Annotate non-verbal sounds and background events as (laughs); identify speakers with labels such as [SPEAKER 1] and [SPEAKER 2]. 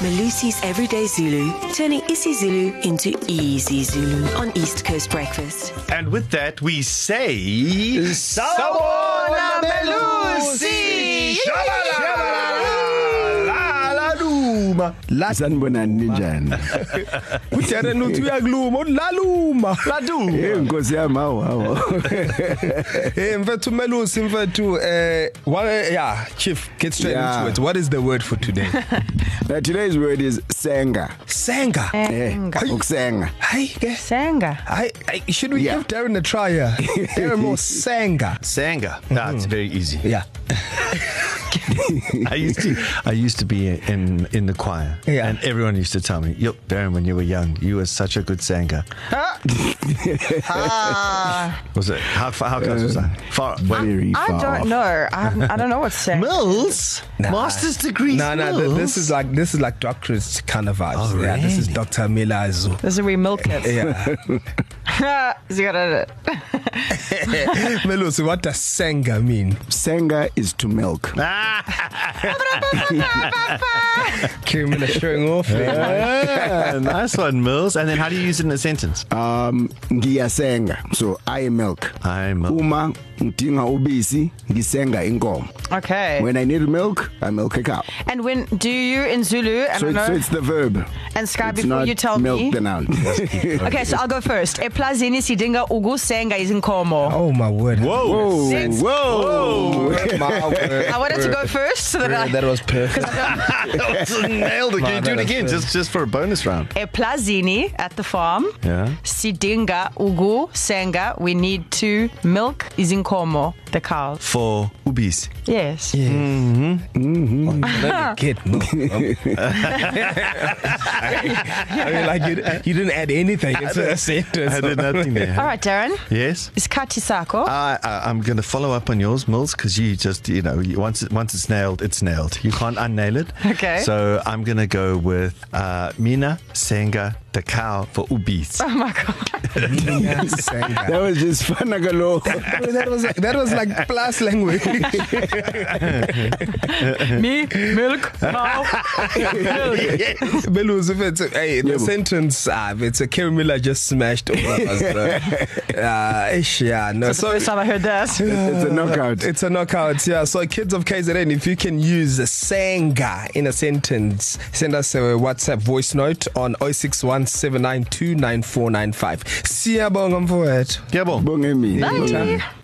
[SPEAKER 1] Malusi's Everyday Zulu, turning isiZulu into easy Zulu on East Coast Breakfast.
[SPEAKER 2] And with that, we say. Sawubona Melusi! Shabalala, la, la, duma.
[SPEAKER 3] sanibonani
[SPEAKER 4] (laughs)
[SPEAKER 3] ninjani
[SPEAKER 4] udarren uthi uyakuluma uthi laluma
[SPEAKER 2] Ladu.
[SPEAKER 3] eyi nkosi yami hawu hawu
[SPEAKER 4] (laughs) hey mfethu melusi mfethu eh what yeah chief get straight yeah.
[SPEAKER 3] Yeah.
[SPEAKER 4] into it what is the word for
[SPEAKER 3] (laughs)
[SPEAKER 4] today
[SPEAKER 3] Uh, today's word is senga
[SPEAKER 4] senga
[SPEAKER 3] Eh, ukusenga
[SPEAKER 4] hayi ke
[SPEAKER 5] Senga.
[SPEAKER 4] hayi hayi, should we yeah.
[SPEAKER 3] Yeah.
[SPEAKER 4] give Darren a try here
[SPEAKER 3] (laughs)
[SPEAKER 4] Darren more senga
[SPEAKER 2] Sanga. That's Mm-hmm. very easy.
[SPEAKER 4] (laughs) yeah
[SPEAKER 2] I used to I used to be in in the choir,
[SPEAKER 4] Yeah.
[SPEAKER 2] and everyone used to tell me, "Yo, Baron, when you were young, you were such a good singer." (laughs) was it how far? How close was that? Far. Well,
[SPEAKER 3] very
[SPEAKER 5] I
[SPEAKER 3] far
[SPEAKER 5] don't
[SPEAKER 3] off.
[SPEAKER 5] know. I, I don't know
[SPEAKER 3] (laughs)
[SPEAKER 5] what's senga.
[SPEAKER 2] Mills, master's degree.
[SPEAKER 4] no no th-
[SPEAKER 2] Mills.
[SPEAKER 4] this is like this is like doctorate kind of vibes
[SPEAKER 2] Oh,
[SPEAKER 4] yeah this is
[SPEAKER 2] really?
[SPEAKER 4] Dr. Milazo
[SPEAKER 5] This is where we milk it.
[SPEAKER 4] yeah
[SPEAKER 5] (laughs) you gotta
[SPEAKER 4] melusi what does senga mean
[SPEAKER 3] senga is to milk
[SPEAKER 2] Ah.
[SPEAKER 4] Kim is (laughs) showing off yeah.
[SPEAKER 2] yeah, Ah, (laughs) nice one, Mills. And then how do you use it in a sentence?
[SPEAKER 3] um ngiyasenga so i milk
[SPEAKER 2] I milk.
[SPEAKER 3] uma ngidinga ubisi ngisenga inkomo
[SPEAKER 5] Okay.
[SPEAKER 3] when i need milk i milk a cow
[SPEAKER 5] and when do you in Zulu? I
[SPEAKER 3] so it's,
[SPEAKER 5] don't
[SPEAKER 3] so
[SPEAKER 5] know.
[SPEAKER 3] it's the verb
[SPEAKER 5] And Sky,
[SPEAKER 3] it's
[SPEAKER 5] before
[SPEAKER 3] not
[SPEAKER 5] you tell
[SPEAKER 3] milk
[SPEAKER 5] me.
[SPEAKER 3] the
[SPEAKER 5] (laughs)
[SPEAKER 3] noun
[SPEAKER 5] Okay, so I'll go first. Eplazini sidinga ugu senga izinkomo.
[SPEAKER 4] oh my word
[SPEAKER 2] Whoa!
[SPEAKER 3] Oh,
[SPEAKER 5] Six.
[SPEAKER 2] (laughs) Whoa!
[SPEAKER 4] (laughs) my word
[SPEAKER 5] I wanted to
[SPEAKER 3] (laughs)
[SPEAKER 5] go first so that I.
[SPEAKER 4] that was perfect
[SPEAKER 2] Nailed (laughs) it. Can you do it
[SPEAKER 4] that was
[SPEAKER 2] again?
[SPEAKER 4] good.
[SPEAKER 2] Just just for a bonus round.
[SPEAKER 5] Eplazini at the farm.
[SPEAKER 2] Yeah.
[SPEAKER 5] Sidinga ugu senga. We need to milk izinkomo, the cows.
[SPEAKER 2] For ubis.
[SPEAKER 5] Yes.
[SPEAKER 4] Get no. (laughs) I mean, like you, you didn't add anything. It's a sentence.
[SPEAKER 2] I did
[SPEAKER 4] (laughs)
[SPEAKER 2] nothing
[SPEAKER 5] All
[SPEAKER 2] there.
[SPEAKER 5] right, Darren.
[SPEAKER 2] Yes.
[SPEAKER 5] Isikhathi sakho.
[SPEAKER 3] Uh,
[SPEAKER 2] I, I, I'm going to follow up on yours, Mills, because you just, you know, you, once it, once it's nailed, it's nailed. You can't unnail it.
[SPEAKER 5] Okay.
[SPEAKER 2] So I'm going to go with uh, Mina Senga the cow for ubis.
[SPEAKER 5] Oh my god.
[SPEAKER 3] that
[SPEAKER 4] that,
[SPEAKER 3] was just fun agalo
[SPEAKER 5] (laughs)
[SPEAKER 4] that was that was like plus language. (laughs)
[SPEAKER 5] Me,
[SPEAKER 3] (laughs)
[SPEAKER 5] milk, now.
[SPEAKER 4] Belus, if it's hey, the
[SPEAKER 3] Yebo.
[SPEAKER 4] sentence, ah, if it's a Kerry Miller just smashed all of
[SPEAKER 2] (laughs)
[SPEAKER 4] us. bro. Ah, ish, yeah, no.
[SPEAKER 5] That's the first time I heard that.
[SPEAKER 3] it's a knockout
[SPEAKER 4] It's a knockout, yeah. So, kids of KZN, if you can use Senga in a sentence, send us a WhatsApp voice note on 061 792 9495. Siyabonga mfowethu.
[SPEAKER 2] Yebo.
[SPEAKER 3] bonge mina
[SPEAKER 4] Bye.